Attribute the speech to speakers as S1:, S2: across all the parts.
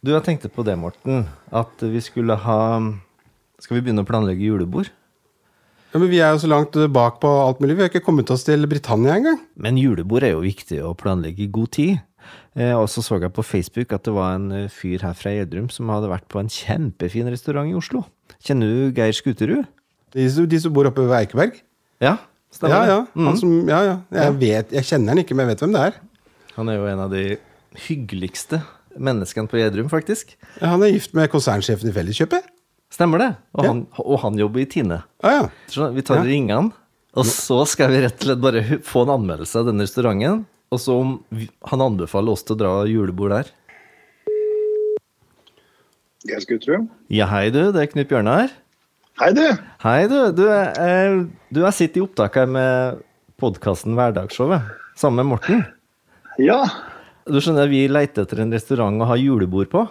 S1: Du, jeg tenkte på det, Morten. At vi skulle ha Skal vi begynne å planlegge julebord?
S2: Ja, men vi er jo så langt bak på alt mulig. Vi har ikke kommet oss til Britannia engang.
S1: Men julebord er jo viktig å planlegge i god tid. Eh, og så så jeg på Facebook at det var en eh, fyr her fra Gjedrum som hadde vært på en kjempefin restaurant i Oslo. Kjenner du Geir Skuterud?
S2: De, som- de som bor oppe ved Eikeberg.
S1: Ja, stemmer
S2: Ja,
S1: det.
S2: ja.
S3: Mm.
S2: Han som, ja, ja. Jeg, vet, jeg kjenner han ikke, men jeg vet hvem det er.
S1: Han er jo en av de hyggeligste menneskene på Gjedrum, faktisk.
S2: Ja, Han er gift med konsernsjefen i Felleskjøpet.
S1: Stemmer det? Og,
S2: Ja.
S1: han, og han jobber i Tine.
S2: Ah, ja.
S1: Så vi tar og ringer han, og så skal vi rett og slett bare hu- få en anmeldelse av denne restauranten. Og så om vi- han anbefaler oss til å dra julebord der.
S3: Jeg skulle tro.
S1: Ja, hei du, det er Knut Bjørnar.
S3: Hei, du!
S1: Hei du, du, eh, du har sittet i opptak her med podkasten Hverdagsshowet, sammen med Morten.
S3: Ja.
S1: Du skjønner, vi leter etter en restaurant å ha julebord på.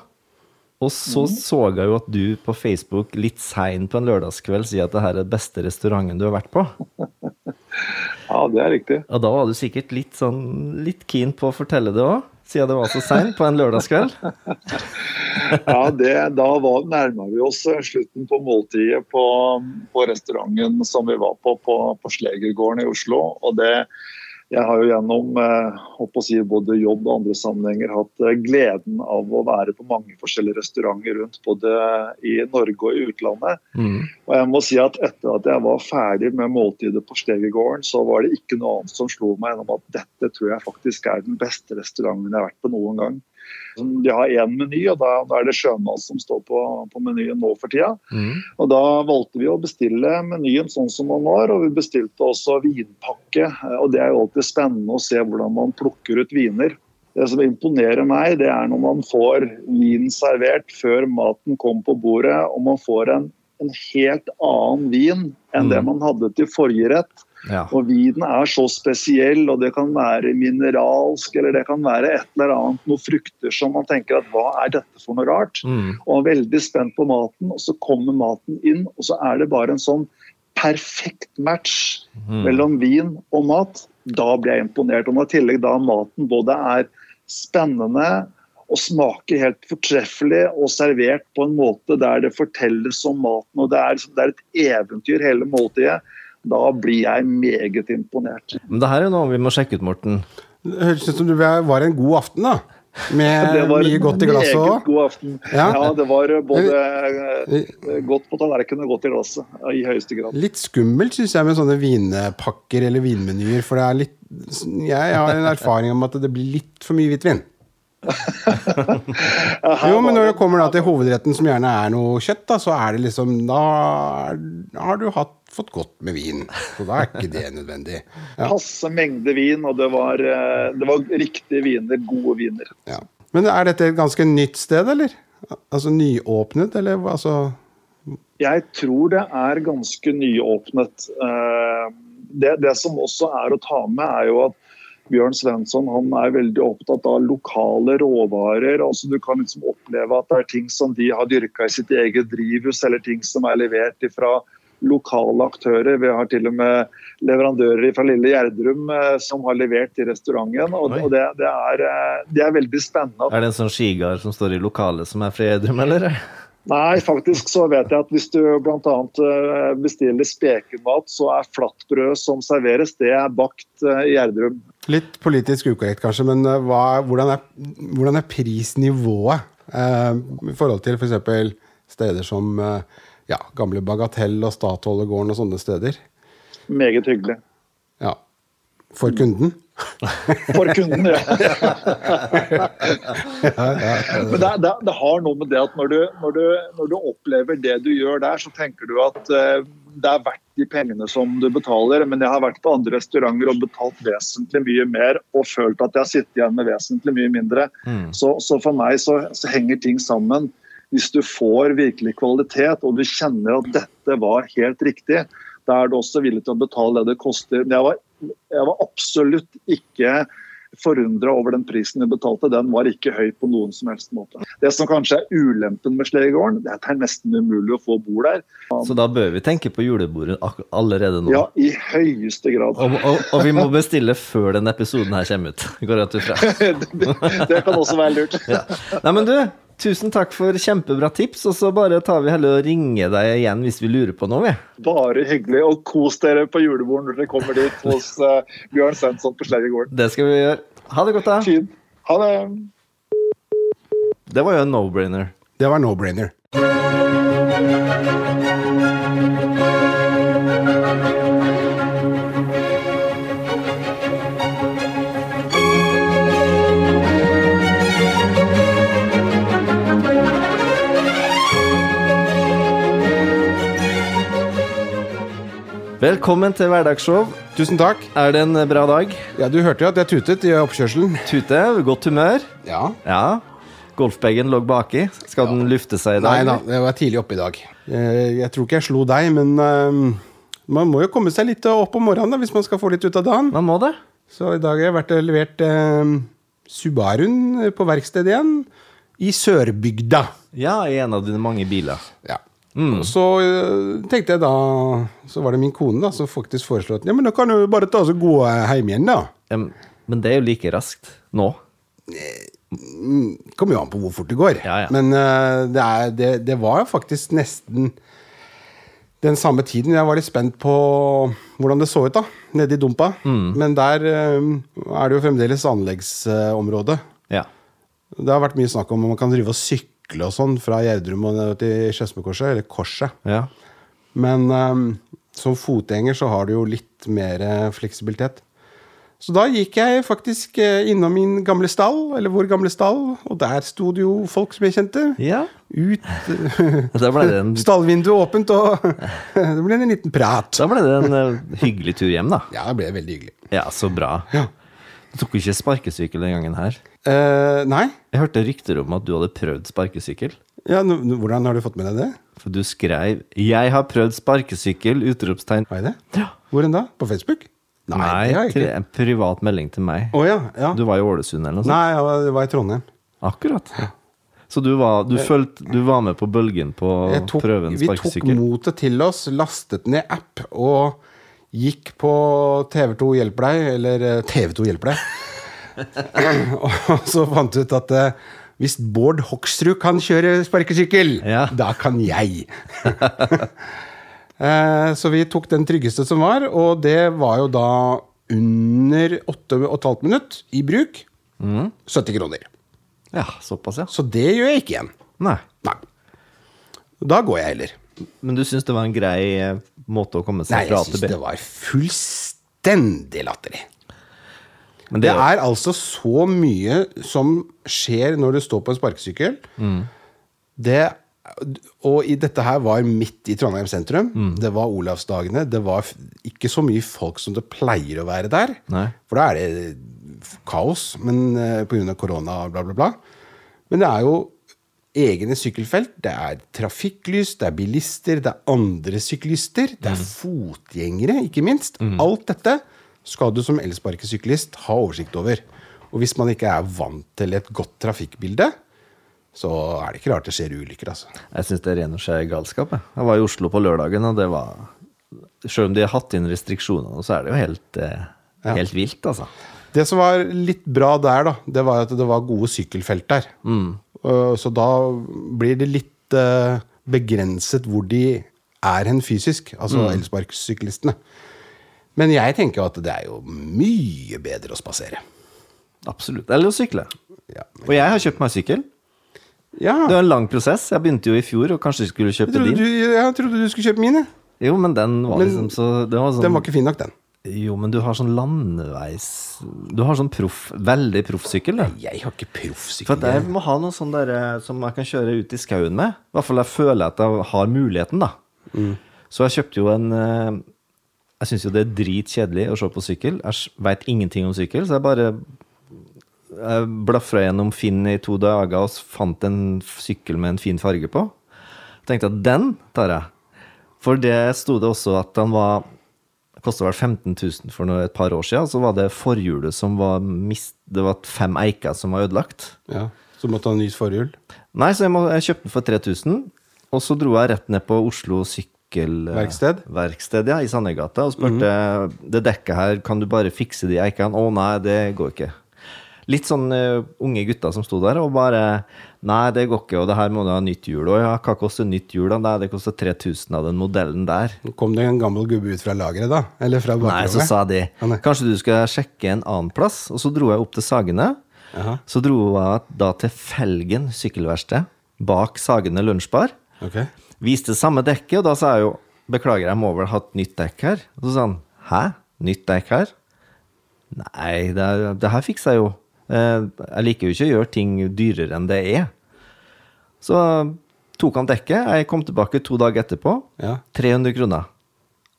S1: Og så så jeg jo at du på Facebook litt sein på en lørdagskveld sier at det her er den beste restauranten du har vært på.
S3: ja, det er riktig.
S1: Og da var du sikkert litt sånn litt keen på å fortelle det òg, siden det var så sein på en lørdagskveld.
S3: Ja, det, Da var, nærma vi oss eh, slutten på måltidet på, på restauranten som vi var på, på, på Slegergården i Oslo. Og det, jeg har jo gjennom eh, holdt på å si, både jobb og andre sammenhenger hatt eh, gleden av å være på mange forskjellige restauranter rundt, både i Norge og i utlandet.
S1: Mm.
S3: Og jeg må si at etter at jeg var ferdig med måltidet på Stegergården, så var det ikke noe annet som slo meg enn at dette tror jeg faktisk er den beste restauranten jeg har vært på noen gang. Sånn, De har én meny, og da, da er det sjømat som står på, på menyen nå for tida.
S1: Mm.
S3: Og da valgte vi å bestille menyen sånn som den var, og vi bestilte også vinpakke. Og det er jo alltid spennende å se hvordan man plukker ut viner. Det som imponerer meg, det er når man får vinen servert før maten kom på bordet, og man får en, en helt annen vin enn det
S1: Mm.
S3: man hadde til forrige rett.
S1: Ja.
S3: Og vinen er så spesiell, og det kan være mineralsk, eller det kan være et eller annet, noen frukter som man tenker at hva er dette for noe rart?
S1: Mm.
S3: og var veldig spent på maten, og så kommer maten inn, og så er det bare en sånn perfekt match
S1: Mm.
S3: mellom vin og mat. Da blir jeg imponert. Og når i tillegg da maten både er spennende og smaker helt fortreffelig, og servert på en måte der det fortelles om maten, og det er, liksom, det er et eventyr hele måltidet, da blir jeg meget imponert.
S1: Men det her er jo noe vi må sjekke ut, Morten.
S2: Det Høres ut som du var en god aften, da. Med
S3: Det var
S2: Eh, mye
S3: en
S2: godt i
S3: meget
S2: glasset òg.
S3: god aften.
S2: Ja.
S3: ja, det var både eh, godt på tallerkenen og godt i glasset, eh, i høyeste grad.
S2: Litt skummelt, syns jeg, med sånne vinpakker eller vinmenyer. For det er litt Jeg har en erfaring om at det blir litt for mye hvitvin.
S3: Ja, her
S2: Jo, men
S3: var
S2: når det kommer da til hovedretten, som gjerne er noe kjøtt, da, så er det liksom Da har du hatt, fått godt med vin. Så da er ikke det nødvendig. Ja,
S3: passe mengde vin, og det var, eh, det var riktige viner, gode viner.
S2: ja. Men er dette et ganske nytt sted, eller? Altså nyåpnet, eller hva- altså
S3: Jeg tror det er ganske nyåpnet. Eh, Det, det som også er å ta med, er jo at Bjørn Svensson han er veldig opptatt av lokale råvarer. altså Du kan liksom oppleve at det er ting som de har dyrka i sitt eget drivhus, eller ting som er levert fra lokale aktører. Vi har til og med leverandører fra lille Gjerdrum eh, som har levert til restauranten. og,
S1: Oi.
S3: og det, det, er, eh, det er veldig spennende.
S1: Er det en sånn skigard som står i lokalet som er fra Gjedrum, eller?
S3: Nei, faktisk så vet jeg at hvis du bl.a. bestiller spekemat, så er flatbrød som serveres, det er bakt eh, i Gjerdrum.
S2: Litt politisk ukorrekt, kanskje, men eh, hva, hvordan, er, hvordan er prisnivået eh, i forhold til f.eks. steder som eh, ja, gamle Bagatell og Statholdegården og sånne steder?
S3: Meget hyggelig.
S2: Ja. For kunden?
S3: For kunden, ja. Men det, det, det har noe med det at når du, når, du, når du opplever det du gjør der, så tenker du at eh, det er verdt de pengene som du betaler. Men jeg har vært på andre restauranter og betalt vesentlig mye mer og følt at jeg har sittet igjen med vesentlig mye mindre.
S1: Mm.
S3: Så, så for meg så, så henger ting sammen. Hvis du får virkelig kvalitet, og du kjenner at dette var helt riktig, da er du også villig til å betale det det koster. Men jeg var, jeg var absolutt ikke forundra over den prisen vi betalte. Den var ikke høy på noen som helst måte. Det som kanskje er ulempen med Slegegården, det er at det er nesten umulig å få bord der.
S1: Så da bør vi tenke på julebordet ak- allerede nå.
S3: Ja, i høyeste grad.
S1: Og, og, og vi må bestille før den episoden her kommer ut. Går jeg ut ifra.
S3: Det kan også være lurt.
S1: Nei, men du, Tusen takk for kjempebra tips, og så bare tar vi heller og ringer deg igjen hvis vi lurer på noe, vi.
S3: Bare hyggelig. Og kos dere på julebordet når dere kommer dit hos eh, Bjørn Svensson på Slegregården.
S1: Det skal vi gjøre. Ha det godt, da.
S3: Fint. Ha det.
S1: Det var jo en no-brainer.
S2: Det var no-brainer.
S1: Velkommen til hverdagsshow.
S2: Tusen takk.
S1: Er det en bra dag?
S2: Ja, Du hørte jo at jeg tutet i oppkjørselen.
S1: Tute, godt humør?
S2: Ja.
S1: Ja. Golfbagen lå baki. Skal den lufte seg i dag?
S2: Nei da,
S1: eller?
S2: jeg var tidlig oppe i dag. Eh, Jeg tror ikke jeg slo deg, men eh, man må jo komme seg litt opp om morgenen da, hvis man skal få litt ut av dagen.
S1: Man må det.
S2: Så i dag har jeg vært og levert eh, Subaruen på verkstedet igjen. I Sørbygda.
S1: Ja, i en av dine mange biler.
S2: Ja. Og Så eh, tenkte jeg da Så var det min kone da som faktisk foreslo at Ja, men da kan du jo bare ta oss og gå eh, hjem igjen, da.
S1: Em, Men det er jo like raskt nå.
S2: kommer jo an på hvor fort det går.
S1: Ja, ja.
S2: Men eh, det, er, det, det var faktisk nesten den samme tiden. Jeg var litt spent på hvordan det så ut da, nede i dumpa.
S1: Mm.
S2: Men der eh, er det jo fremdeles anleggsområde.
S1: Ja.
S2: Det har vært mye snakk om om man kan drive og sykle og sånn fra Gjerdrum og ned til Skedsmokorset, eller Korset.
S1: ja.
S2: Men ehm, som fotgjenger så har du jo litt mer eh, fleksibilitet. Så da gikk jeg faktisk eh, innom min gamle stall, eller vår gamle stall, og der sto det jo folk som jeg kjente.
S1: Ja.
S2: Ut
S1: Da ble det en,
S2: Stallvinduet åpent, og det ble en liten prat.
S1: da ble det en eh, hyggelig tur hjem, da.
S2: Ja, det ble veldig hyggelig.
S1: Ja, så bra.
S2: Ja.
S1: Du tok jo ikke sparkesykkel den gangen her.
S2: Eh, nei?
S1: Jeg hørte rykter om at du hadde prøvd sparkesykkel.
S2: Ja, nå- nå- hvordan har du fått med deg det?
S1: For du skrev 'Jeg har prøvd sparkesykkel!' utropstegn.
S2: Har jeg det?
S1: Ja.
S2: Hvor enn da? På Facebook? det har
S1: Nei,
S2: jeg
S1: til
S2: ikke.
S1: en privat melding til meg.
S2: Å ja. ja.
S1: Du var i Ålesund eller noe sånt?
S2: Nei, jeg var, jeg var i Trondheim.
S1: Akkurat. Så du var, du, følte, du var med på bølgen på å
S2: Jeg tok,
S1: prøve en
S2: vi tok
S1: sparkesykkel?
S2: motet til oss, lastet ned app og gikk på TV2 hjelper deg, eller eh, TV2 hjelper deg. og så fant vi ut at eh, hvis Bård Hoksrud kan kjøre sparkesykkel,
S1: Ja.
S2: da kan jeg! Eh, så vi tok den tryggeste som var, og det var jo da under 8,5 minutt i bruk.
S1: Mm.
S2: 70 kroner.
S1: Ja, såpass, ja.
S2: Så det gjør jeg ikke igjen.
S1: Nei.
S2: Nei. Da går jeg heller.
S1: Men du syns det var en grei eh, måte å komme
S2: Nei,
S1: seg fra
S2: jeg
S1: A til
S2: syns
S1: B?
S2: det var fullstendig latterlig.
S1: Men
S2: Det
S1: det,
S2: er altså så mye som skjer når du står på en sparkesykkel. Det, og i dette her var midt i Trondheim sentrum.
S1: Mm.
S2: Det var Olavsdagene. Det var f- ikke så mye folk som det pleier å være der.
S1: Nei.
S2: For da er det f- kaos men eh, på grunn av korona og bla, bla, bla. Men det er jo egne sykkelfelt. Det er trafikklys, det er bilister, det er andre syklister. Det er fotgjengere, ikke minst. Alt dette skal du som elsparkesyklist ha oversikt over. Og hvis man ikke er vant til et godt trafikkbilde, så er det ikke rart det skjer ulykker, altså.
S1: jeg syns det er ren og skjær galskap. Jeg. jeg var i Oslo på lørdagen, og det var Selv om de har hatt inn restriksjoner nå, så er det jo helt, eh, helt vilt, altså.
S2: Det som var litt bra der, da, det var at det var gode sykkelfelt der.
S1: Mm.
S2: Uh, Så da blir det litt eh, begrenset hvor de er hen fysisk, altså
S1: Mm.
S2: elsparkesyklistene. Men jeg tenker jo at det er jo mye bedre å spasere.
S1: Absolutt. Eller å sykle.
S2: Ja.
S1: Og jeg har kjøpt meg sykkel.
S2: ja.
S1: Det var en lang prosess. Jeg begynte jo i fjor, og kanskje skulle
S2: Jeg,
S1: kjøpe
S2: trodde
S1: din.
S2: du, jeg trodde du skulle kjøpe mine.
S1: Jo, men den var
S2: Men
S1: liksom så Den var sånn
S2: Den var ikke fin nok, den.
S1: Jo, men du har sånn landeveis Du har sånn proff, veldig proffsykkel, da.
S2: Jeg har ikke
S1: For
S2: proffsykkel.
S1: at jeg må ha noe sånn der, eh, som jeg kan kjøre ut i skauen med. I hvert fall jeg føler at jeg har muligheten, da. Så jeg kjøpte jo en eh, Jeg syns jo det er dritkjedelig å se på sykkel. Jeg veit ingenting om sykkel, så jeg bare jeg blafra gjennom Finn i to dager og s- fant en f- sykkel med en fin farge på. Tenkte at den tar jeg. For det sto det også at den var Kosta vel 15 000 for noe, et par år siden. Så var det forhjulet som var mist... Det var fem eiker som var ødelagt.
S2: Ja. Så måtte han nytt forhjul.
S1: Nei, så jeg, må, jeg kjøpte den for 3000, og så dro jeg rett ned på Oslo sykkelverksted
S2: Verksted? Mhm.
S1: Verksted, ja, i Sandegata og spurte det dekket her, kan du bare fikse de eikene? Å nei, det går ikke. litt sånn eh, unge gutter som sto der og bare Nei, det går ikke, og det her må du ha nytt hjul. Og ja, hva koster nytt hjul? da? Nei, det koster 3000 av den modellen der.
S2: Kom det en gammel gubbe ut fra lageret, da? Eller fra
S1: Nei, så
S2: bakrommet?
S1: sa de
S2: Ja, nei.
S1: kanskje du skal sjekke en annen plass. Og så dro jeg opp til Sagene.
S2: Jaha.
S1: Så dro jeg da til Felgen sykkelverksted, bak Sagene lunsjbar.
S2: Ok.
S1: Viste samme dekket, og da sa jeg jo Beklager, jeg må vel ha et nytt dekk her? Og så sa han Hæ? Nytt dekk her? Nei, det, er- det her fikser jeg jo. Eh, Jeg liker jo ikke å gjøre ting dyrere enn det er. Så tok han dekket. Jeg kom tilbake to dager etterpå.
S2: Ja.
S1: 300 kroner.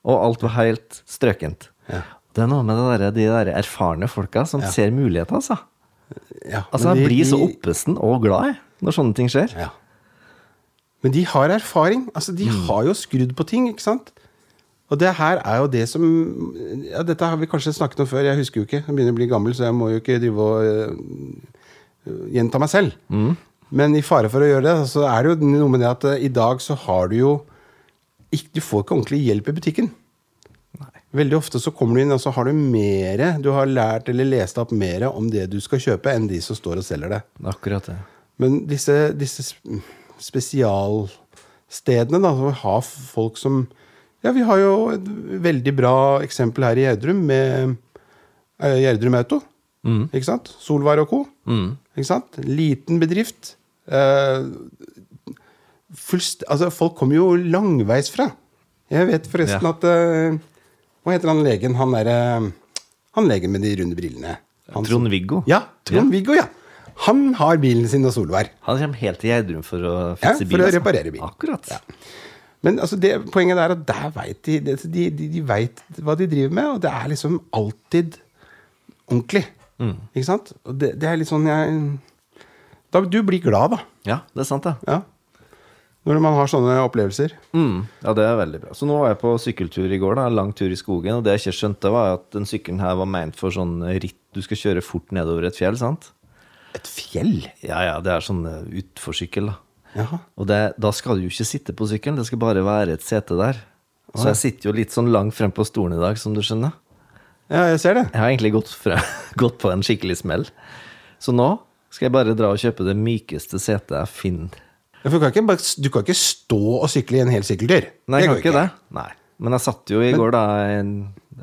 S1: Og alt var helt strøkent.
S2: Ja.
S1: Det er noe med det der, de der erfarne folka som ser muligheter, altså.
S2: Ja,
S1: Altså, Jeg
S2: men de-
S1: blir så
S2: de-
S1: oppesen og glad jeg, når sånne ting skjer.
S2: Ja. Men de har erfaring. Altså, de har jo skrudd på ting, ikke sant? Og det her er jo det som ja, Dette har vi kanskje snakket om før, jeg husker jo ikke. Jeg begynner å bli gammel, så jeg må jo ikke drive og øh, gjenta meg selv. Men i fare for å gjøre det, så er det jo noe med det at øh, i dag så har du jo ikke, Du får ikke ordentlig hjelp i butikken. Veldig ofte så kommer du inn, og så har du mere Du har lært eller lest opp mer om det du skal kjøpe, enn de som står og selger det.
S1: Akkurat det.
S2: Men disse, disse sp- mm, spesialstedene, da, som har folk som Ja, vi har jo et veldig bra eksempel her i Gjerdrum med eh, Gjerdrum Auto. Ikke sant? Solvær og co. Ikke sant? Liten bedrift. Eh, fullst, altså, folk kommer jo langveisfra. Jeg vet forresten
S1: Ja.
S2: at eh, Hva heter han legen? Han derre Han legen med de runde brillene. Han som-
S1: Trond-Viggo.
S2: ja, Trond-Viggo, ja. Han har bilen sin og solvær.
S1: Han kommer helt til Gjerdrum for å
S2: Ja,
S1: fikse
S2: for
S1: bil.
S2: å
S1: altså.
S2: reparere bil.
S1: Akkurat.
S2: Men altså det, poenget der er at der vet de, det- de, de, de vet hva de driver med, og det er liksom alltid ordentlig.
S1: Mm.
S2: Ikke sant? Og det, det er litt sånn jeg da, Du blir glad, da.
S1: Ja, det er sant, det.
S2: Ja. Når man har sånne opplevelser.
S1: Mm. Ja, det er veldig bra. Så nå var jeg på sykkeltur i går, da, en lang tur i skogen, og det jeg ikke skjønte, var at den sykkelen her var ment for sånn ritt Du skal kjøre fort nedover et fjell, sant?
S2: Et fjell?
S1: Ja, ja, det er sånn eh, utforsykkel, da.
S2: Jaha.
S1: Og det, da skal du jo ikke sitte på sykkelen, det skal bare være et sete der. Så jeg sitter jo litt sånn langt frem på stolen i dag, som du skjønner.
S2: Ja, jeg ser det.
S1: Jeg har egentlig gått, fra, gått på en skikkelig smell. Så nå skal jeg bare dra og kjøpe det mykeste setet jeg finner.
S2: Ja, For du kan ikke, bare- du kan ikke stå og sykle i en hel sykkeltur.
S1: Nei, jeg
S2: går
S1: kan ikke det. Nei. Men jeg satt jo i går, da, en,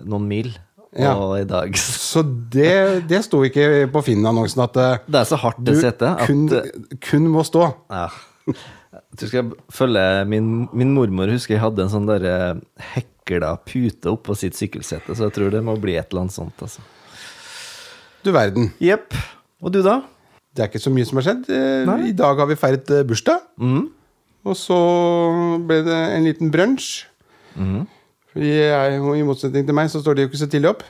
S1: noen mil.
S2: Ja.
S1: Og i dag så-
S2: Så det, det sto ikke på Finn-annonsen at eh,
S1: Det er så hardt, det setet, at
S2: kun,
S1: eh,
S2: kun må stå.
S1: ja. Jeg tror jeg skal følge min, min mormor husker jeg hadde en sånn derre hekla pute oppå sitt sykkelsete, så jeg tror det må bli et eller annet sånt, altså.
S2: Du verden.
S1: Jepp. Og du, da?
S2: Det er ikke så mye som har skjedd. Eh,
S1: Nei.
S2: I dag har vi feiret eh, bursdag. Og så ble det en liten brunsj. Mm. Fordi jeg, og I motsetning til meg så står de jo ikke så tidlig opp.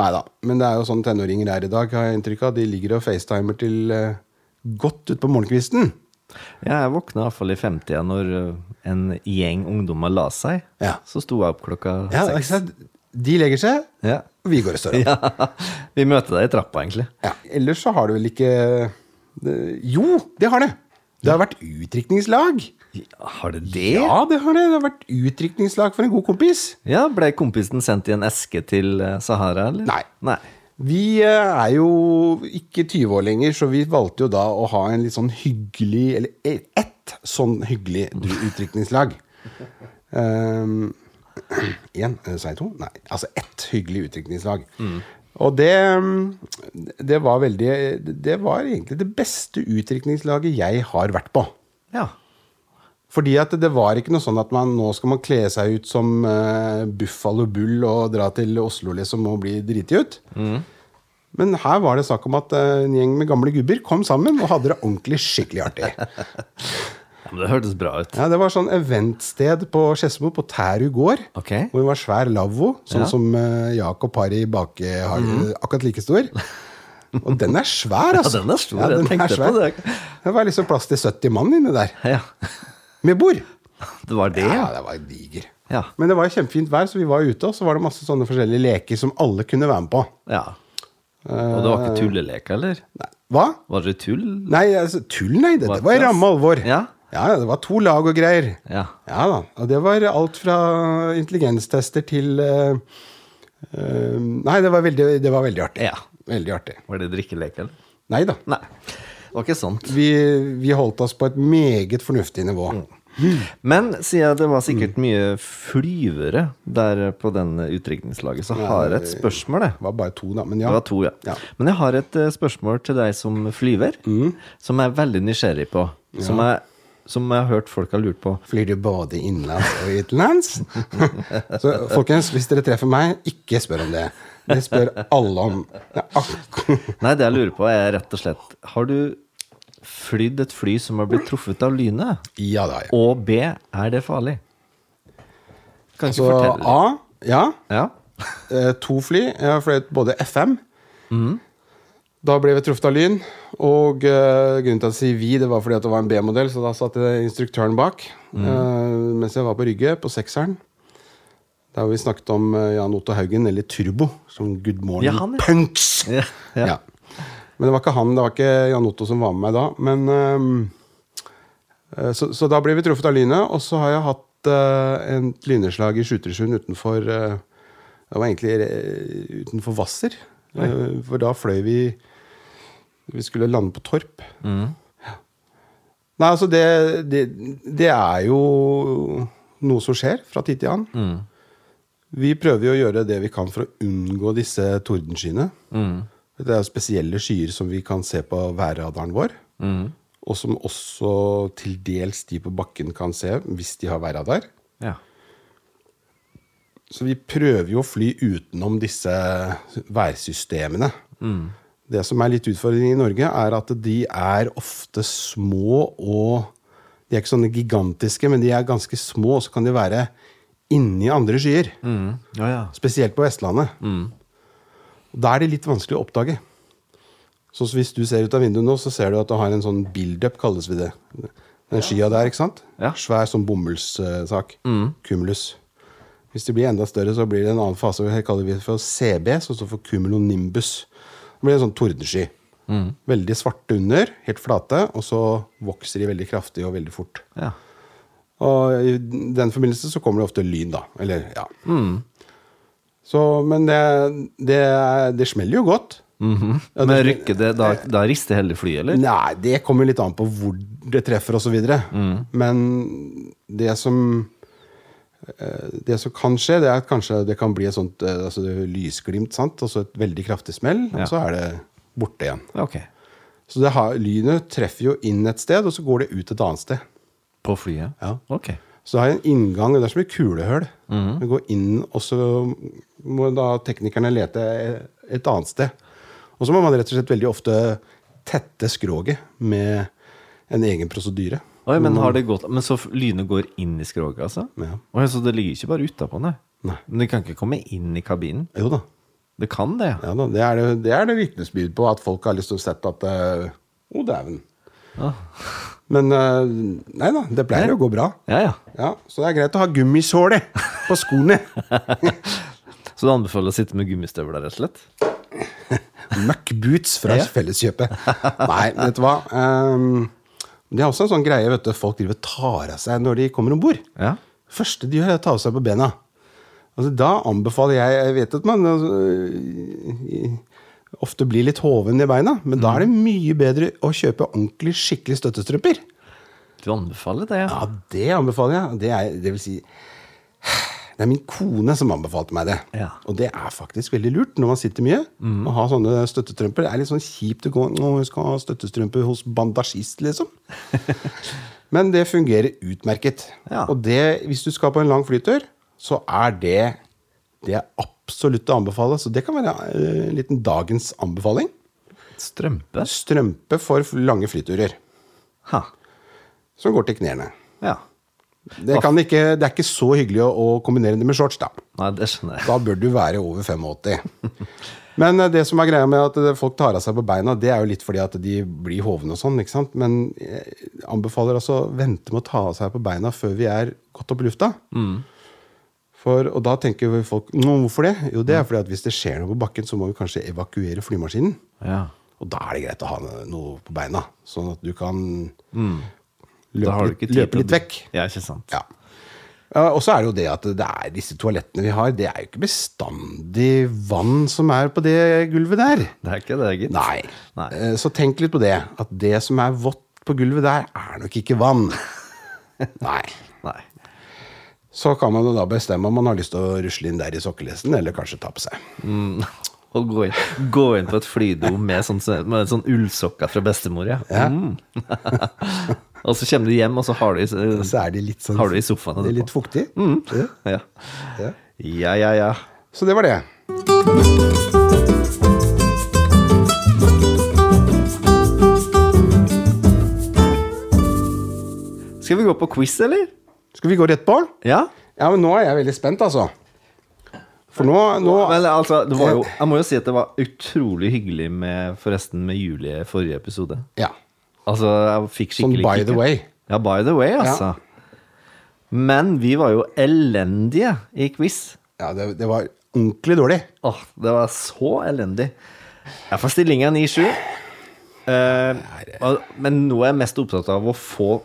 S2: Nei da, men det er jo sånn tenåringer er i dag. har jeg inntrykk av. De ligger og facetimer til eh, godt utpå morgenkvisten.
S1: Ja, jeg våkna iallfall i 50 når ø, en gjeng ungdommer la seg.
S2: Ja.
S1: Så sto jeg opp klokka
S2: Ja, ikke
S1: seks.
S2: sant? De legger seg,
S1: Ja.
S2: og vi går og står opp.
S1: ja. Vi møter deg i trappa, egentlig.
S2: Ja. Ellers så har det vel ikke det- Jo, det har det! Det har vært utdrikningslag.
S1: Ja, har det det?
S2: Ja, det har det. Det har vært utdrikningslag for en god kompis.
S1: Ja, Ble kompisen sendt i en eske til ø, Sahara, eller?
S2: Nei.
S1: Nei.
S2: Vi eh, er jo ikke 20 år lenger, så vi valgte jo da å ha en litt sånn hyggelig Eller ett sånn hyggelig utdrikningslag. Um, Én, eh, sa jeg to? Nei, altså ett hyggelig utdrikningslag. Og det, mm, det var veldig Det var egentlig det beste utdrikningslaget jeg har vært på.
S1: Ja.
S2: Fordi at det var ikke noe sånn at man, nå skal man kle seg ut som eh, Buffalo Bull og dra til Oslo liksom og bli driti ut.
S1: Mm.
S2: Men her var det snakk om at eh, en gjeng med gamle gubber kom sammen og hadde det ordentlig skikkelig artig.
S1: ja. Men det hørtes bra ut.
S2: Ja, det var sånn eventsted på Skedsmo, på Tæru gård.
S1: Ok.
S2: Hvor det var svær lavvo,
S1: Ja.
S2: sånn
S1: Mm.
S2: som eh, Jakob har i bakehagen. Akkurat like stor. Og den er svær, altså.
S1: den er stor, jeg
S2: den
S1: tenkte på det.
S2: Det var liksom plass til 70 mann inni der.
S1: Ja.
S2: Med bord.
S1: Det var det, ja.
S2: Ja, det var diger.
S1: Ja.
S2: Men det var jo kjempefint vær, så vi var ute, og så var det masse sånne forskjellige leker som alle kunne være med på.
S1: ja. Og det var ikke tulleleker, eller?
S2: Nei. Hva?
S1: Var det tull?
S2: Nei, altså, tull, nei. Det,
S1: Var
S2: det var i
S1: det-
S2: ramme alvor.
S1: Ja.
S2: ja, ja, det var to lag og greier.
S1: Ja.
S2: Ja da. Og det var alt fra intelligenstester til eh, eh, Nei, det var veldig, det var veldig artig.
S1: Ja.
S2: Veldig artig.
S1: Var det drikkelek, eller?
S2: Nei da.
S1: Nei. Det var ikke sånt.
S2: Vi, vi holdt oss på et meget fornuftig nivå.
S1: Mm. Men siden jeg det var sikkert
S2: Mm.
S1: mye flyvere der på den utdrikningslaget, så har jeg et spørsmål, jeg.
S2: Det var bare to, da. Men
S1: Det
S2: ja.
S1: var to, ja.
S2: Ja. Mm.
S1: Men jeg har et eh, spørsmål til deg som flyver, som jeg er veldig nysgjerrig på. Som, jeg, som jeg har hørt folk har lurt på.
S2: Flyr du både innenlands og utenlands? Så folkens, hvis dere treffer meg, ikke spør om det. Det spør alle om. Det er ak-
S1: Nei, det jeg lurer på, er rett og slett Har du flydd et fly som har blitt truffet av lynet?
S2: Ja da, ja.
S1: Og B, er det farlig? Kan ikke
S2: Så
S1: fortelle det.
S2: Altså, A, ja.
S1: Ja.
S2: Eh, To fly. Jeg har fløyet både FM
S1: Mm.
S2: Da ble vi truffet av lyn. Og eh, grunnen til at jeg sier vi, det var fordi at det var en B-modell, så da satt eh, instruktøren bak.
S1: Mm.
S2: eh, mens jeg var på Rygge, på sekseren. Der vi snakket om eh, Jan Otto Haugen, eller Turbo, som Good Morning
S1: Ja, han, ja.
S2: Punks!
S1: Ja, ja.
S2: Ja. Men det var ikke han, det var ikke Jan Otto som var med meg da. Men, øhm, eh, så, så da ble vi truffet av lynet, og så har jeg hatt eh, en lyneslag i Skjutersund utenfor eh, Det var egentlig eh, utenfor Hvasser. eh, for da fløy vi Vi skulle lande på Torp. Ja. Nei, altså det, det, det er jo noe som skjer fra tid til annen. Vi prøver jo å gjøre det vi kan for å unngå disse tordenskyene. Det er jo spesielle skyer som vi kan se på værradaren vår. Og som også til dels de på bakken kan se hvis de har værradar.
S1: ja.
S2: Så vi prøver jo å fly utenom disse værsystemene. Det som er litt utfordringen i Norge, er at de er ofte små og De er ikke sånne gigantiske, men de er ganske små, og så kan de være inni andre skyer.
S1: Mm. ja, ja.
S2: Spesielt på Vestlandet. Da er det litt vanskelig å oppdage. Så hvis du ser ut av vinduet nå, så ser du at det har en sånn build-up, kalles vi det. Den skya der, ikke sant?
S1: Ja.
S2: Svær sånn bomullssak. Cumulus. Hvis det blir enda større, så blir det en annen fase. Det kaller vi for CB, som står for cumulonimbus. Det blir en sånn tordensky. Veldig svarte under, helt flate, og så vokser de veldig kraftig og veldig fort.
S1: ja.
S2: Og i den forbindelse så kommer det ofte lyn, da. Eller, ja. Så, men det, det, er- det smeller jo godt. Ja,
S1: Men
S2: det-
S1: rykker det Da, da rister hele flyet, eller?
S2: Nei, det kommer litt an på hvor det treffer osv. videre Men det som eh, det som kan skje, det er at kanskje det kan bli et sånt eh, altså det er lysglimt, sant? og så et veldig kraftig smell,
S1: Ja.
S2: og så er det borte igjen.
S1: Ok.
S2: Så det har, lynet treffer jo inn et sted, og så går det ut et annet sted.
S1: På flyet?
S2: Ja.
S1: Ok.
S2: Så det har jeg en inngang, og det er som et kulehull. Du går inn, og så må da teknikerne lete et annet sted. Og så må man rett og slett veldig ofte tette skroget med en egen prosedyre.
S1: Oi, men, har det gått, men så f- lynet går inn i skroget, altså?
S2: Ja.
S1: Oi, så det ligger ikke bare utapå, nei?
S2: Nei.
S1: Men det kan ikke komme inn i kabinen?
S2: Jo da.
S1: Det kan det, ja.
S2: Ja, da det, er det, det er det vitnesbyrd på, at folk har liksom sett at eh, Å, dæven.
S1: Ah.
S2: Men eh, nei da, det pleier å gå bra.
S1: Ja, ja.
S2: Ja, Så det er greit å ha gummisåler på skoene.
S1: Så du anbefaler å sitte med gummistøvler, rett og slett?
S2: Muck boots fra
S1: Ja.
S2: Felleskjøpet. Nei, vet du hva. Ehm, det er også en sånn greie vet du, folk driver og tar av seg når de kommer om bord.
S1: Ja.
S2: første de gjør, er å ta av seg på bena. Altså, da anbefaler jeg Jeg vet at man øh, ofte blir litt hoven i beina, men da er det mye bedre å kjøpe ordentlig, skikkelig støttestrømper.
S1: Du anbefaler det, ja?
S2: Ja, det anbefaler jeg. Det, er, det vil si Det er min kone som anbefalte meg det.
S1: Ja. Mm.
S2: Og det er faktisk veldig lurt når man sitter mye. Å ha sånne støttestrømper. Det er litt sånn kjipt å gå Nå skal jeg ha støttestrømper hos bandasjist, liksom. Men det fungerer utmerket.
S1: Ja.
S2: Og det, hvis du skal på en lang flytur, så er det det er absolutt å anbefale. Så det kan være eh, en liten dagens anbefaling.
S1: Strømpe?
S2: Strømpe for lange flyturer.
S1: Ha.
S2: Som går til knærne.
S1: Ja.
S2: Det, kan ikke, det er ikke så hyggelig å, å kombinere det med shorts, da.
S1: Nei, det skjønner jeg.
S2: Da bør du være over 85. Men eh, det som er greia med at eh, folk tar av seg på beina, det er jo litt fordi at de blir hovne og sånn, ikke sant. Men jeg anbefaler altså å vente med å ta av seg på beina før vi er godt opp i lufta.
S1: Mm.
S2: For, og da tenker jo folk Nå, hvorfor det? Jo, det er fordi at hvis det skjer noe på bakken, så må vi kanskje evakuere flymaskinen.
S1: Ja.
S2: Og da er det greit å ha noe på beina, sånn at du kan
S1: Da
S2: løpe,
S1: Mm. har du
S2: litt-
S1: ikke tid
S2: løpe
S1: til å
S2: litt
S1: bli-
S2: vekk.
S1: Ja, ikke sant.
S2: Ja. Ja, og så er det jo det at det er disse toalettene vi har, det er jo ikke bestandig vann som er på det gulvet der.
S1: Det er ikke det, gitt.
S2: Nei.
S1: Nei.
S2: Eh, Så tenk litt på det. At det som er vått på gulvet der, er nok ikke vann. Nei.
S1: Nei.
S2: Så kan man jo da bestemme om man har lyst til å rusle inn der i sokkelesten, eller kanskje ta på
S1: Mm.
S2: seg.
S1: Å gå inn, gå inn på et flydo med sånn, med sånn ullsokker fra bestemor, ja. Mm. og så kommer du hjem, og så har du eh, i-
S2: Så er de litt sånn
S1: Har du i sofaen
S2: Det er
S1: etterpå. Mm.
S2: litt fuktig. Ja.
S1: Ja,
S2: Ja.
S1: ja, ja. ja.
S2: Så det var det.
S1: Skal vi gå på quiz, eller?
S2: Skal vi gå rett på?
S1: Ja?
S2: Ja, men nå er jeg veldig spent, altså. For nå, nå
S1: Men altså, det var jo, jeg må jo si at det var utrolig hyggelig med, forresten, med Julie i forrige episode.
S2: Ja.
S1: Altså, jeg fikk
S2: Sånn
S1: skikkelig
S2: by
S1: kick,
S2: the
S1: jeg.
S2: way.
S1: Ja, by the way, altså. Men vi var jo elendige i quiz.
S2: Ja, det, det var ordentlig dårlig.
S1: Åh, det var så elendig. Jeg får stillinga 9-7. Eh, og- men nå er jeg mest opptatt av å få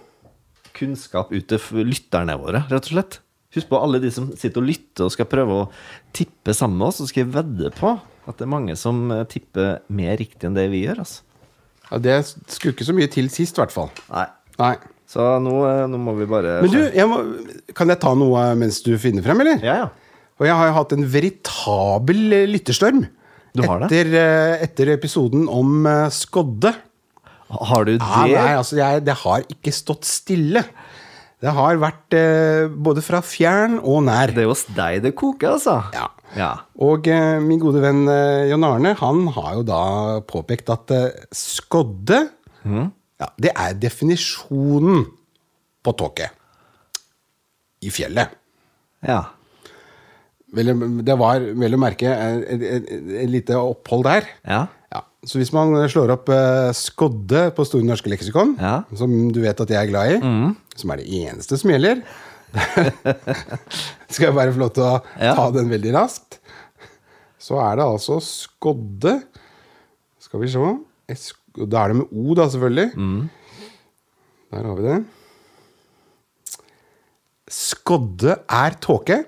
S1: kunnskap ut til f- lytterne våre, rett og slett. Husk på alle de som sitter og lytter og skal prøve å tippe sammen med oss, og skal jeg vedde på at det er mange som eh, tipper mer riktig enn det vi gjør. Altså.
S2: Ja, det skulle ikke så mye til sist, i hvert fall.
S1: Nei.
S2: Nei.
S1: Så nå, eh, nå må vi bare
S2: Men du, jeg må, kan jeg ta noe mens du finner frem, eller?
S1: Ja, ja.
S2: Og jeg har hatt en veritabel eh, lytterstorm.
S1: Du har det?
S2: Etter, eh, etter episoden om eh, skodde.
S1: Har du det?
S2: Ja, nei, altså, jeg, det har ikke stått stille. Det har vært eh, både fra fjern og nær.
S1: Det er hos deg det koker, altså.
S2: Ja.
S1: ja.
S2: Og eh, min gode venn eh, Jon Arne han har jo da påpekt at eh, skodde ja, Det er definisjonen på tåke i fjellet.
S1: ja.
S2: Vel, Det var vel å merke eh, et, et, et lite opphold der.
S1: Ja.
S2: Ja, Så hvis man slår opp eh, 'skodde' på Store norske leksikon,
S1: Ja. Mm.
S2: som du vet at jeg er glad i, som er det eneste som gjelder Skal jeg bare få lov til å
S1: Ja.
S2: ta den veldig raskt? Så er det altså 'skodde' Skal vi se S- Da er det med O, da, selvfølgelig.
S1: Mm.
S2: Der har vi det. 'Skodde er tåke',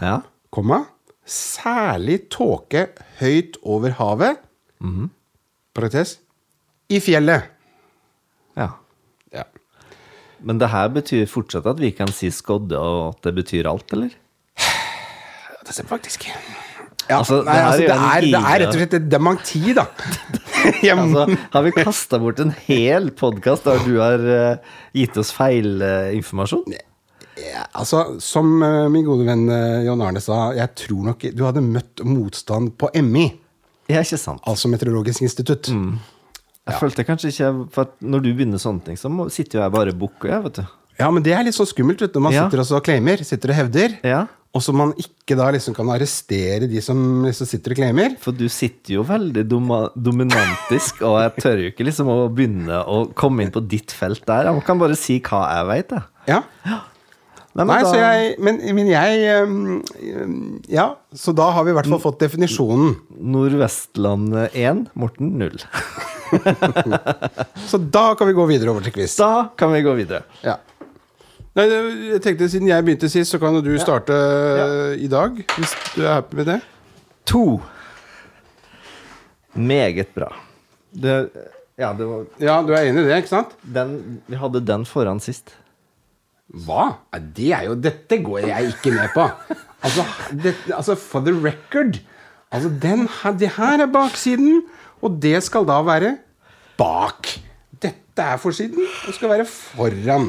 S1: Ja.
S2: komma, særlig tåke høyt over havet. Parentes. I fjellet.
S1: ja.
S2: Ja.
S1: Men det her betyr fortsatt at vi kan si skodde, og at det betyr alt, eller?
S2: Det ser faktisk ja,
S1: Altså, det
S2: nei,
S1: her er
S2: altså, det,
S1: jo en
S2: er, det er
S1: gigre-
S2: rett og slett et dementi, da. Jeg må-
S1: Altså, har vi kasta bort en hel podkast der du har eh, gitt oss feilinformasjon?
S2: ja, altså, som eh, min gode venn eh, Jan Arne sa, jeg tror nok du hadde møtt motstand på MI,
S1: ja, ikke sant.
S2: altså Meteorologisk institutt.
S1: Mm. Jeg følte kanskje ikke For at når du begynner sånne ting, så må, sitter jo jeg bare og bukker, jeg, vet du.
S2: Ja, men det er litt sånn skummelt vet du, når man
S1: Ja.
S2: sitter og så claimer, sitter og hevder,
S1: Ja.
S2: og så man ikke da liksom kan arrestere de som liksom sitter og claimer.
S1: For du sitter jo veldig doma, dominantisk, og jeg tør jo ikke liksom å begynne å komme inn på ditt felt der. Jeg kan bare si hva jeg veit, jeg.
S2: Ja.
S1: Nei, men
S2: Nei,
S1: da-
S2: så jeg, men, men jeg øhm, Ja, så da har vi i hvert
S1: Mm.
S2: fall fått definisjonen.
S1: Nordvestlandet 1, Morten 0.
S2: Så da kan vi gå videre over til quiz.
S1: Da kan vi gå videre.
S2: Ja. Nei, jeg tenkte Siden jeg begynte sist, så kan jo du starte øh, i dag. Hvis du er happy med det.
S1: To. Meget bra. Det, ja, det var
S2: Ja, du er enig i det, ikke sant?
S1: den Vi hadde den foran sist.
S2: Hva? Ja, Det er jo Dette går jeg ikke med på. Altså, det, altså for the record Altså, den her, det her er baksiden, og det skal da være bak. Dette er forsiden, og skal være foran.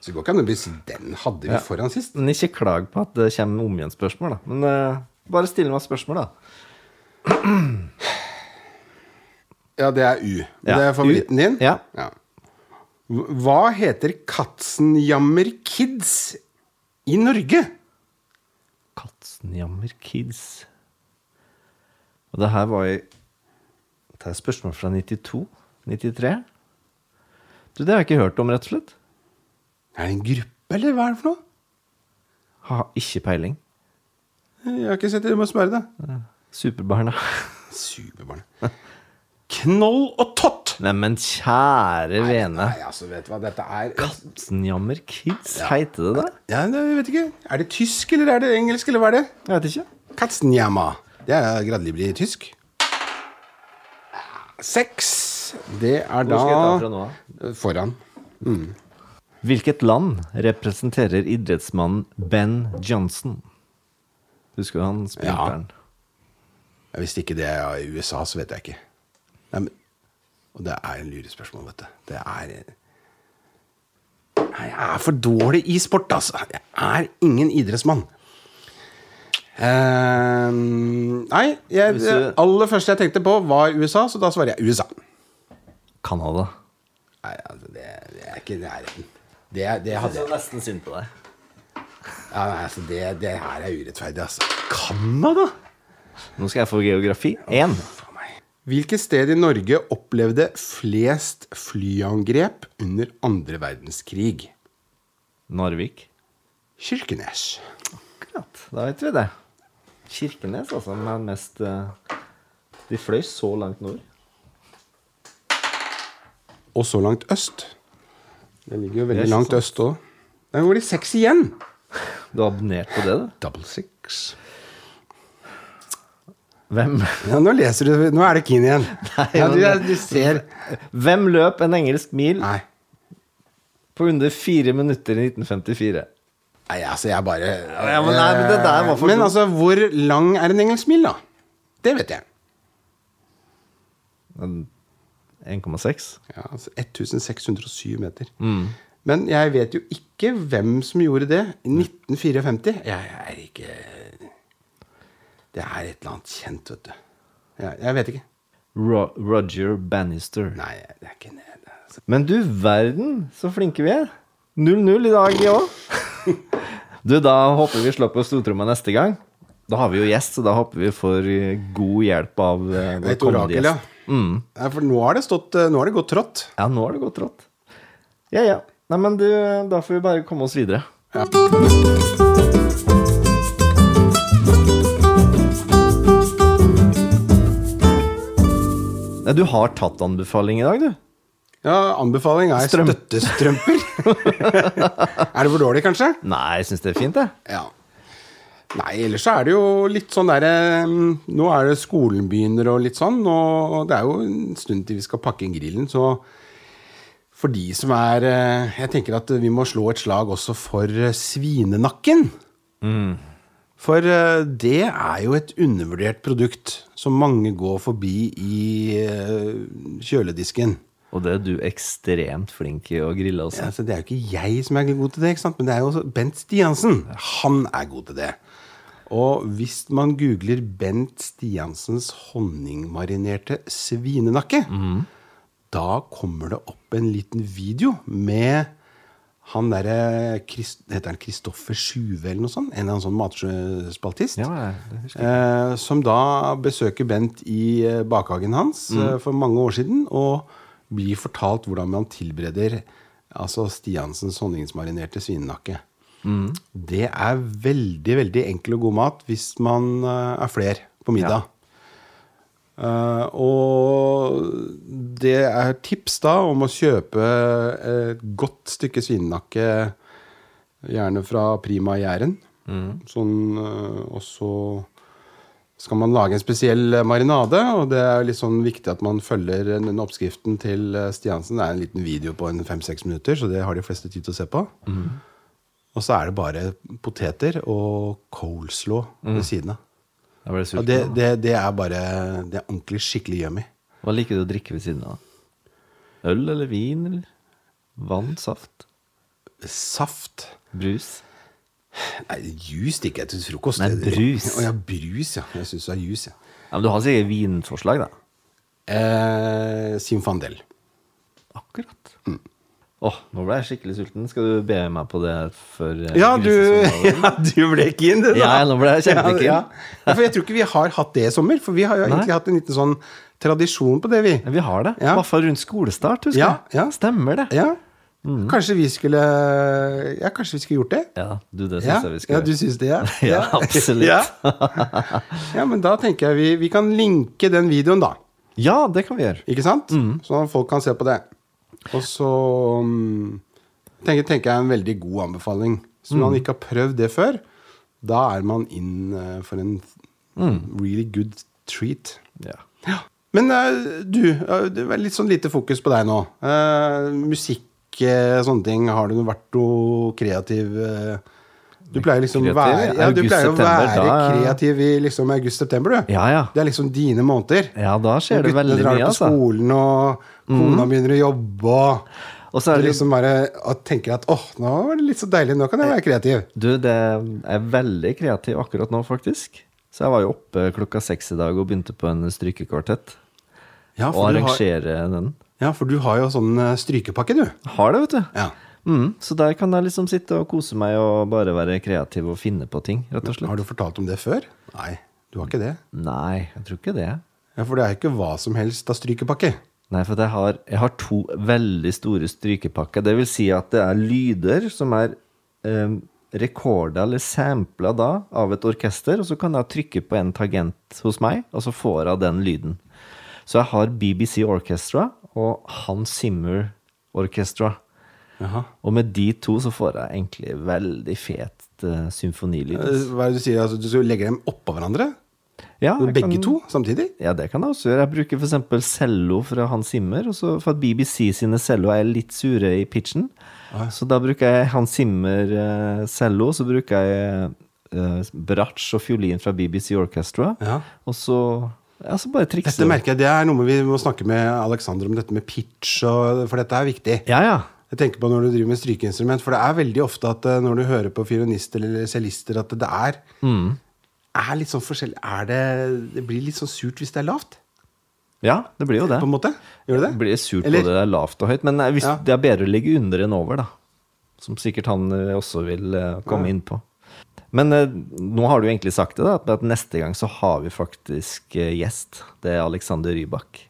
S2: Så det går ikke an å bli si den hadde vi foran sist.
S1: Men ikke klag på at det kommer om igjen spørsmål, da. Men eh, bare still meg spørsmål, da.
S2: Ja, det er U.
S1: Ja,
S2: Det er
S1: U.
S2: favoritten din.
S1: Ja.
S2: Hva heter Katzenjammer Kids i Norge?
S1: Katzenjammer Kids. Og det her var i Det er spørsmål fra 92? 93? Du, det har jeg ikke hørt om, rett og slett.
S2: Er det en gruppe, eller hva er det for noe?
S1: Har ikke peiling.
S2: Jeg har ikke sett det. Du må spørre, da.
S1: Superbarna.
S2: Superbarn. Knoll og tott
S1: Neimen, kjære vene.
S2: Nei, altså, vet du hva, dette er
S1: Katzenjammer Kids, heter det det?
S2: ja, nei, Jeg vet ikke. Er det tysk, eller er det engelsk, eller hva er det?
S1: Jeg vet ikke.
S2: Katzenjammer. Det er gradlibri i tysk. Seks. Det er da
S1: Hvor skal jeg ta fra nå av?
S2: Foran.
S1: Hvilket land representerer idrettsmannen Ben Johnson? Husker du han sprinteren?
S2: Ja, Hvis ikke det er i USA, så vet jeg ikke. Nei, men, og det er en lurespørsmål, vet du. Det er Nei, Jeg er for dårlig i sport, altså. Jeg er ingen idrettsmann. Eh, nei, jeg,
S1: Hvis
S2: det
S1: du-
S2: aller første jeg tenkte på, var USA, så da svarer jeg USA.
S1: Canada.
S2: Nei, altså, det, det er ikke i nærheten. Det, det hadde jeg.
S1: nesten synd på deg.
S2: Ja, nei, altså, det, det her er urettferdig, altså.
S1: Canada? Nå skal jeg få geografi. Én.
S2: Faen meg. Hvilket sted i Norge opplevde flest flyangrep under andre verdenskrig?
S1: Narvik.
S2: Kirkenes.
S1: Akkurat. Da vet vi det. Kirkenes, altså. Men mest eh, De fløy så langt nord.
S2: Og så langt øst. Det ligger
S1: Det
S2: jo
S1: er
S2: veldig
S1: ikke
S2: langt
S1: sant.
S2: øst òg. Der går de seks igjen!
S1: Du har abonnert på det, du?
S2: Double six.
S1: Hvem,
S2: Ja, nå leser du Nå er det keen igjen. ja, du,
S1: men-
S2: du ser
S1: Hvem løp en engelsk mil
S2: Nei.
S1: på under fire minutter i 1954?
S2: Nei, altså, jeg bare
S1: Ja, men nei, men det der var for
S2: Men
S1: dumt.
S2: altså, hvor lang er en engelsk mil, da? Det vet jeg.
S1: 1,6?
S2: Ja, altså 1607 meter. Men jeg vet jo ikke hvem som gjorde det. I 1954? Jeg er ikke Det er et eller annet kjent, vet du. Jeg, jeg vet ikke.
S1: Ro Roger Bannister.
S2: Nei, det er ikke det. er altså-
S1: Men du verden, så flinke vi er. 0-0 i dag, vi òg. Du, da håper vi slår på stortromma neste gang. Da har vi jo gjest, så da håper vi får eh, god hjelp av eh, vår
S2: Et
S1: kommende
S2: orakel, ja.
S1: gjest.
S2: Nei, For nå har det stått eh, Nå har det gått trått.
S1: Ja, nå har det gått rått. Ja, ja. Nei, men du, da får vi bare komme oss videre. Nei, du har tatt anbefaling i dag, du.
S2: Ja, anbefaling er
S1: Strøm-
S2: støttestrømper. er det for dårlig, kanskje?
S1: Nei, jeg syns det er fint, jeg.
S2: Ja. Nei, ellers så er det jo litt sånn derre mm, Nå er det skolen begynner og litt sånn, og det er jo en stund til vi skal pakke inn grillen, så for de som er eh, Jeg tenker at vi må slå et slag også for eh, svinenakken. For eh, det er jo et undervurdert produkt som mange går forbi i eh, kjøledisken.
S1: Og det er du ekstremt flink i å grille også.
S2: Ja, altså, det er jo ikke jeg som er god til det, ikke sant? men det er jo også Bent Stiansen. Han er god til det. Og hvis man googler Bent Stiansens honningmarinerte svinenakke, da kommer det opp en liten video med han derre Krist- Heter han Kristoffer Sjuve eller noe sånt? En eller annen sånn matspaltist.
S1: Ja, det husker
S2: Eh, som da besøker Bent i eh, bakhagen hans eh, for mange år siden, og blir fortalt hvordan man tilbereder altså Stiansens honningsmarinerte svinenakke. Det er veldig veldig enkel og god mat hvis man eh, er fler på middag. Eh, og det er tips da om å kjøpe et godt stykke svinenakke, gjerne fra Prima i Jæren. Sånn, eh, og så skal man lage en spesiell eh, marinade, og det er jo litt sånn viktig at man følger den oppskriften til eh, Stiansen. Det er en liten video på en fem-seks minutter, så det har de fleste tid til å se på. Og så er det bare poteter og coleslaw
S1: Mm.
S2: ved siden av.
S1: Jeg ble
S2: Ja,
S1: sulten.
S2: det,
S1: nå.
S2: det, det er bare Det er ordentlig skikkelig yummy.
S1: Hva liker du å drikke ved siden av? Øl eller vin eller vann, saft,
S2: Saft
S1: brus?
S2: Nei, juice drikker jeg til frokost.
S1: Nei,
S2: Det- det-
S1: brus.
S2: Å ja, brus, ja. Jeg syns det er juice, ja.
S1: Ja, men du har sikkert vinforslag, da.
S2: Eh, Simfandel.
S1: Akkurat. Mm. Åh, nå ble jeg skikkelig sulten. Skal du be meg på det før eh,
S2: Ja, du,
S1: grisesesongen er over?
S2: ja, du ble keen, du, da.
S1: Ja, nå ble jeg kjempekeen.
S2: Ja, ja. For jeg tror ikke vi har hatt det i sommer. For vi har jo egentlig hatt en liten sånn tradisjon på det, vi.
S1: Ja, Vi har det.
S2: Ja.
S1: I hvert fall rundt skolestart, husker
S2: Ja,
S1: jeg.
S2: ja.
S1: Stemmer det.
S2: Ja.
S1: Mm.
S2: Kanskje vi skulle Ja, kanskje vi skulle gjort det?
S1: Ja, du, det
S2: Ja,
S1: syns jeg vi skal
S2: ja du syns det, ja?
S1: Ja, absolutt.
S2: Ja. ja, men da tenker jeg vi, vi kan linke den videoen, da.
S1: Ja. Ja, det kan vi gjøre.
S2: Ikke sant?
S1: Mm.
S2: Sånn at folk kan se på det. Og så mm, tenker, tenker jeg en veldig god anbefaling. Så
S1: Mm.
S2: når man ikke har prøvd det før, da er man inn eh, for en
S1: Mm.
S2: really good treat.
S1: Ja.
S2: Men eh, du, eh, det er litt sånn lite fokus på deg nå. Eh, musikk, eh, sånne ting. Har du noe- vært noe kreativ eh, Du pleier liksom å
S1: Kreativ?
S2: være, ja, du
S1: August,
S2: pleier å
S1: september,
S2: være
S1: da-
S2: kreativ i liksom august-september, du.
S1: Ja, ja.
S2: Det er liksom dine måneder.
S1: Ja, da skjer det
S2: Guttene
S1: veldig
S2: drar
S1: mye,
S2: på
S1: altså.
S2: skolen, og kona begynner å jobbe, og
S1: Og så er
S2: du
S1: det
S2: liksom bare og tenker at åh, nå var det litt så deilig, nå kan jeg være kreativ.
S1: Du, det er veldig kreativ akkurat nå, faktisk. Så jeg var jo oppe klokka seks i dag og begynte på en strykekvartett.
S2: Ja,
S1: Og
S2: for, du har,
S1: arrangere den.
S2: ja, for du har jo sånn eh, strykepakke, du.
S1: Har det, vet du.
S2: Ja.
S1: Mm, så der kan jeg liksom sitte og kose meg og bare være kreativ og finne på ting, rett og slett.
S2: Har du fortalt om det før? Nei, du har ikke det.
S1: Nei, jeg tror ikke det.
S2: Ja, For det er jo ikke hva som helst av strykepakke.
S1: Nei, for at jeg har, jeg har to veldig store strykepakker. Det vil si at det er lyder som er eh, rekorda eller sampla da av et orkester, og så kan jeg trykke på en tagent hos meg, og så får jeg den lyden. Så jeg har BBC Orchestra og Hans Zimmer Orchestra.
S2: Jaha.
S1: Og med de to så får jeg egentlig veldig fet eh, symfonilyd.
S2: Eh, Hva er det du sier? Altså, du skal legge dem oppå hverandre?
S1: Ja, jeg
S2: Begge
S1: kan-
S2: to samtidig?
S1: Ja, det kan jeg også gjøre. Jeg bruker f.eks. cello fra Hans Zimmer. Og så for at BBC sine cello er litt sure i pitchen. Så da bruker jeg Hans Zimmer eh, cello, så bruker jeg eh, bratsj og fiolin fra BBC Orchestra.
S2: Ja.
S1: Og så ja, så bare
S2: Dette
S1: trikser
S2: merker jeg, Det er noe vi må snakke med Alexander om, dette med pitch, og, for dette er viktig.
S1: Ja, ja.
S2: Jeg tenker på når du driver med strykeinstrument, for det er veldig ofte at eh, når du hører på fiolinister eller cellister, at det er,
S1: Mm.
S2: er litt sånn forskjellig er det, det blir litt sånn surt hvis det er lavt,
S1: Ja, det blir jo det.
S2: på en måte. Gjør det
S1: Det
S2: det?
S1: blir surt
S2: Eller-
S1: både det er lavt og høyt. Men nei, hvis
S2: Ja.
S1: det er bedre å ligge under enn over, da. Som sikkert han eh, også vil eh, komme inn på. Men eh, nå har du egentlig sagt det, da, at neste gang så har vi faktisk eh, gjest. Det er Alexander Rybak.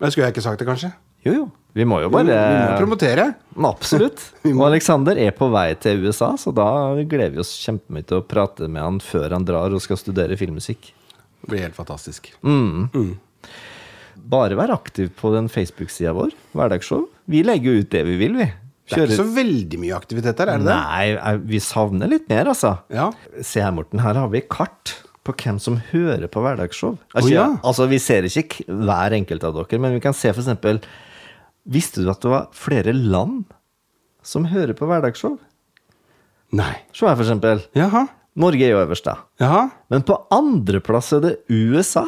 S2: Men skulle jeg ikke sagt det, kanskje?
S1: Jo, jo. Vi må jo
S2: Vi
S1: bare
S2: må promotere.
S1: Absolutt. Og Alexander er på vei til USA, så da gleder vi oss kjempemye til å prate med han før han drar og skal studere filmmusikk.
S2: Det blir helt fantastisk.
S1: Mm. Bare vær aktiv på den Facebook-sida vår, Hverdagsshow. Vi legger jo ut det vi vil, vi.
S2: Det er ikke så veldig mye aktivitet her, er det det?
S1: Nei, jeg- vi savner litt mer, altså.
S2: Ja.
S1: Se her, Morten. Her har vi kart på hvem som hører på hverdagsshow.
S2: Å,
S1: Altså,
S2: ja.
S1: altså, vi ser ikke k- hver enkelt av dere, men vi kan se f.eks. Visste du at det var flere land som hører på hverdagsshow?
S2: Nei.
S1: Se her, f.eks.
S2: Jaha.
S1: Norge er jo øverst, da.
S2: Jaha.
S1: Men på andreplass er det USA.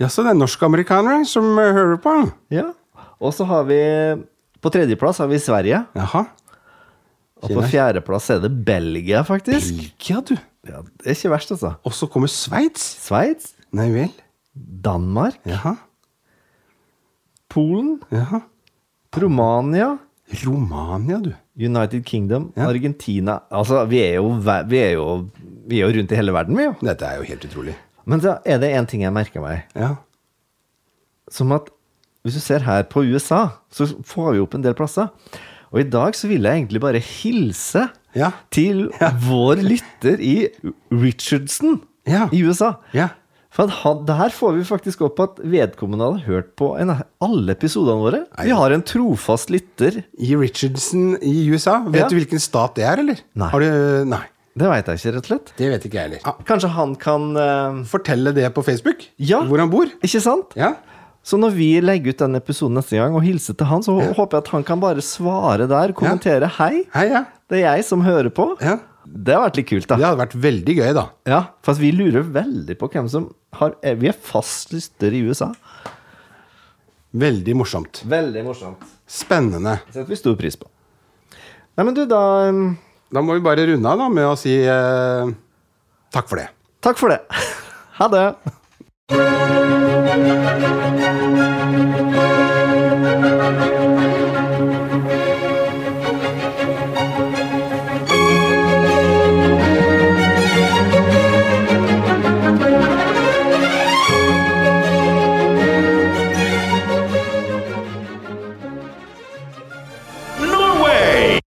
S2: Jaså, det er norsk-amerikanere som eh, hører på.
S1: Ja. Og så har vi På tredjeplass har vi Sverige.
S2: Jaha.
S1: Og på fjerdeplass er det Belgia, faktisk.
S2: Belgia, du.
S1: Ja, det er ikke verst, altså.
S2: Og så kommer Sveits.
S1: Sveits,
S2: Nei vel.
S1: Danmark
S2: Jaha.
S1: Polen,
S2: Jaha.
S1: Romania,
S2: Romania, du.
S1: United Kingdom, Argentina Altså, vi er, jo, ve- vi, er jo, vi er jo rundt i hele verden, vi, jo.
S2: Dette er jo helt utrolig.
S1: Men da er det én ting jeg merker meg.
S2: Ja.
S1: Som at hvis du ser her på USA, så får vi opp en del plasser. Og i dag så vil jeg egentlig bare hilse
S2: Ja.
S1: til vår lytter i Richardson
S2: Ja.
S1: i USA.
S2: Ja.
S1: For at han, der får vi faktisk opp at vedkommende hadde hørt på en, alle episodene våre.
S2: Nei.
S1: Vi har en trofast lytter
S2: I Richardson i USA. Vet
S1: Ja.
S2: du hvilken stat det er, eller?
S1: Nei.
S2: Har du, nei.
S1: Det veit jeg ikke, rett og slett.
S2: Det vet ikke jeg heller. Ah,
S1: Kanskje han kan eh,
S2: fortelle det på Facebook?
S1: Ja.
S2: Hvor han bor?
S1: Ikke sant?
S2: Ja.
S1: Så når vi legger ut den episoden neste gang og hilser til han, så hå- håper jeg at han kan bare svare der, kommentere 'hei,
S2: Hei, ja.
S1: det er jeg som hører på'.
S2: Ja.
S1: Det har vært litt kult, da.
S2: Det hadde vært veldig gøy, da.
S1: Ja, For at vi lurer veldig på hvem som har eh, Vi er fast lytter i USA.
S2: Veldig morsomt.
S1: Veldig morsomt.
S2: Spennende.
S1: Det setter vi stor pris på. Nei, men du, da mm,
S2: Da må vi bare runde av da med å si eh, takk for det.
S1: Takk for det. Ha det.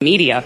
S4: media.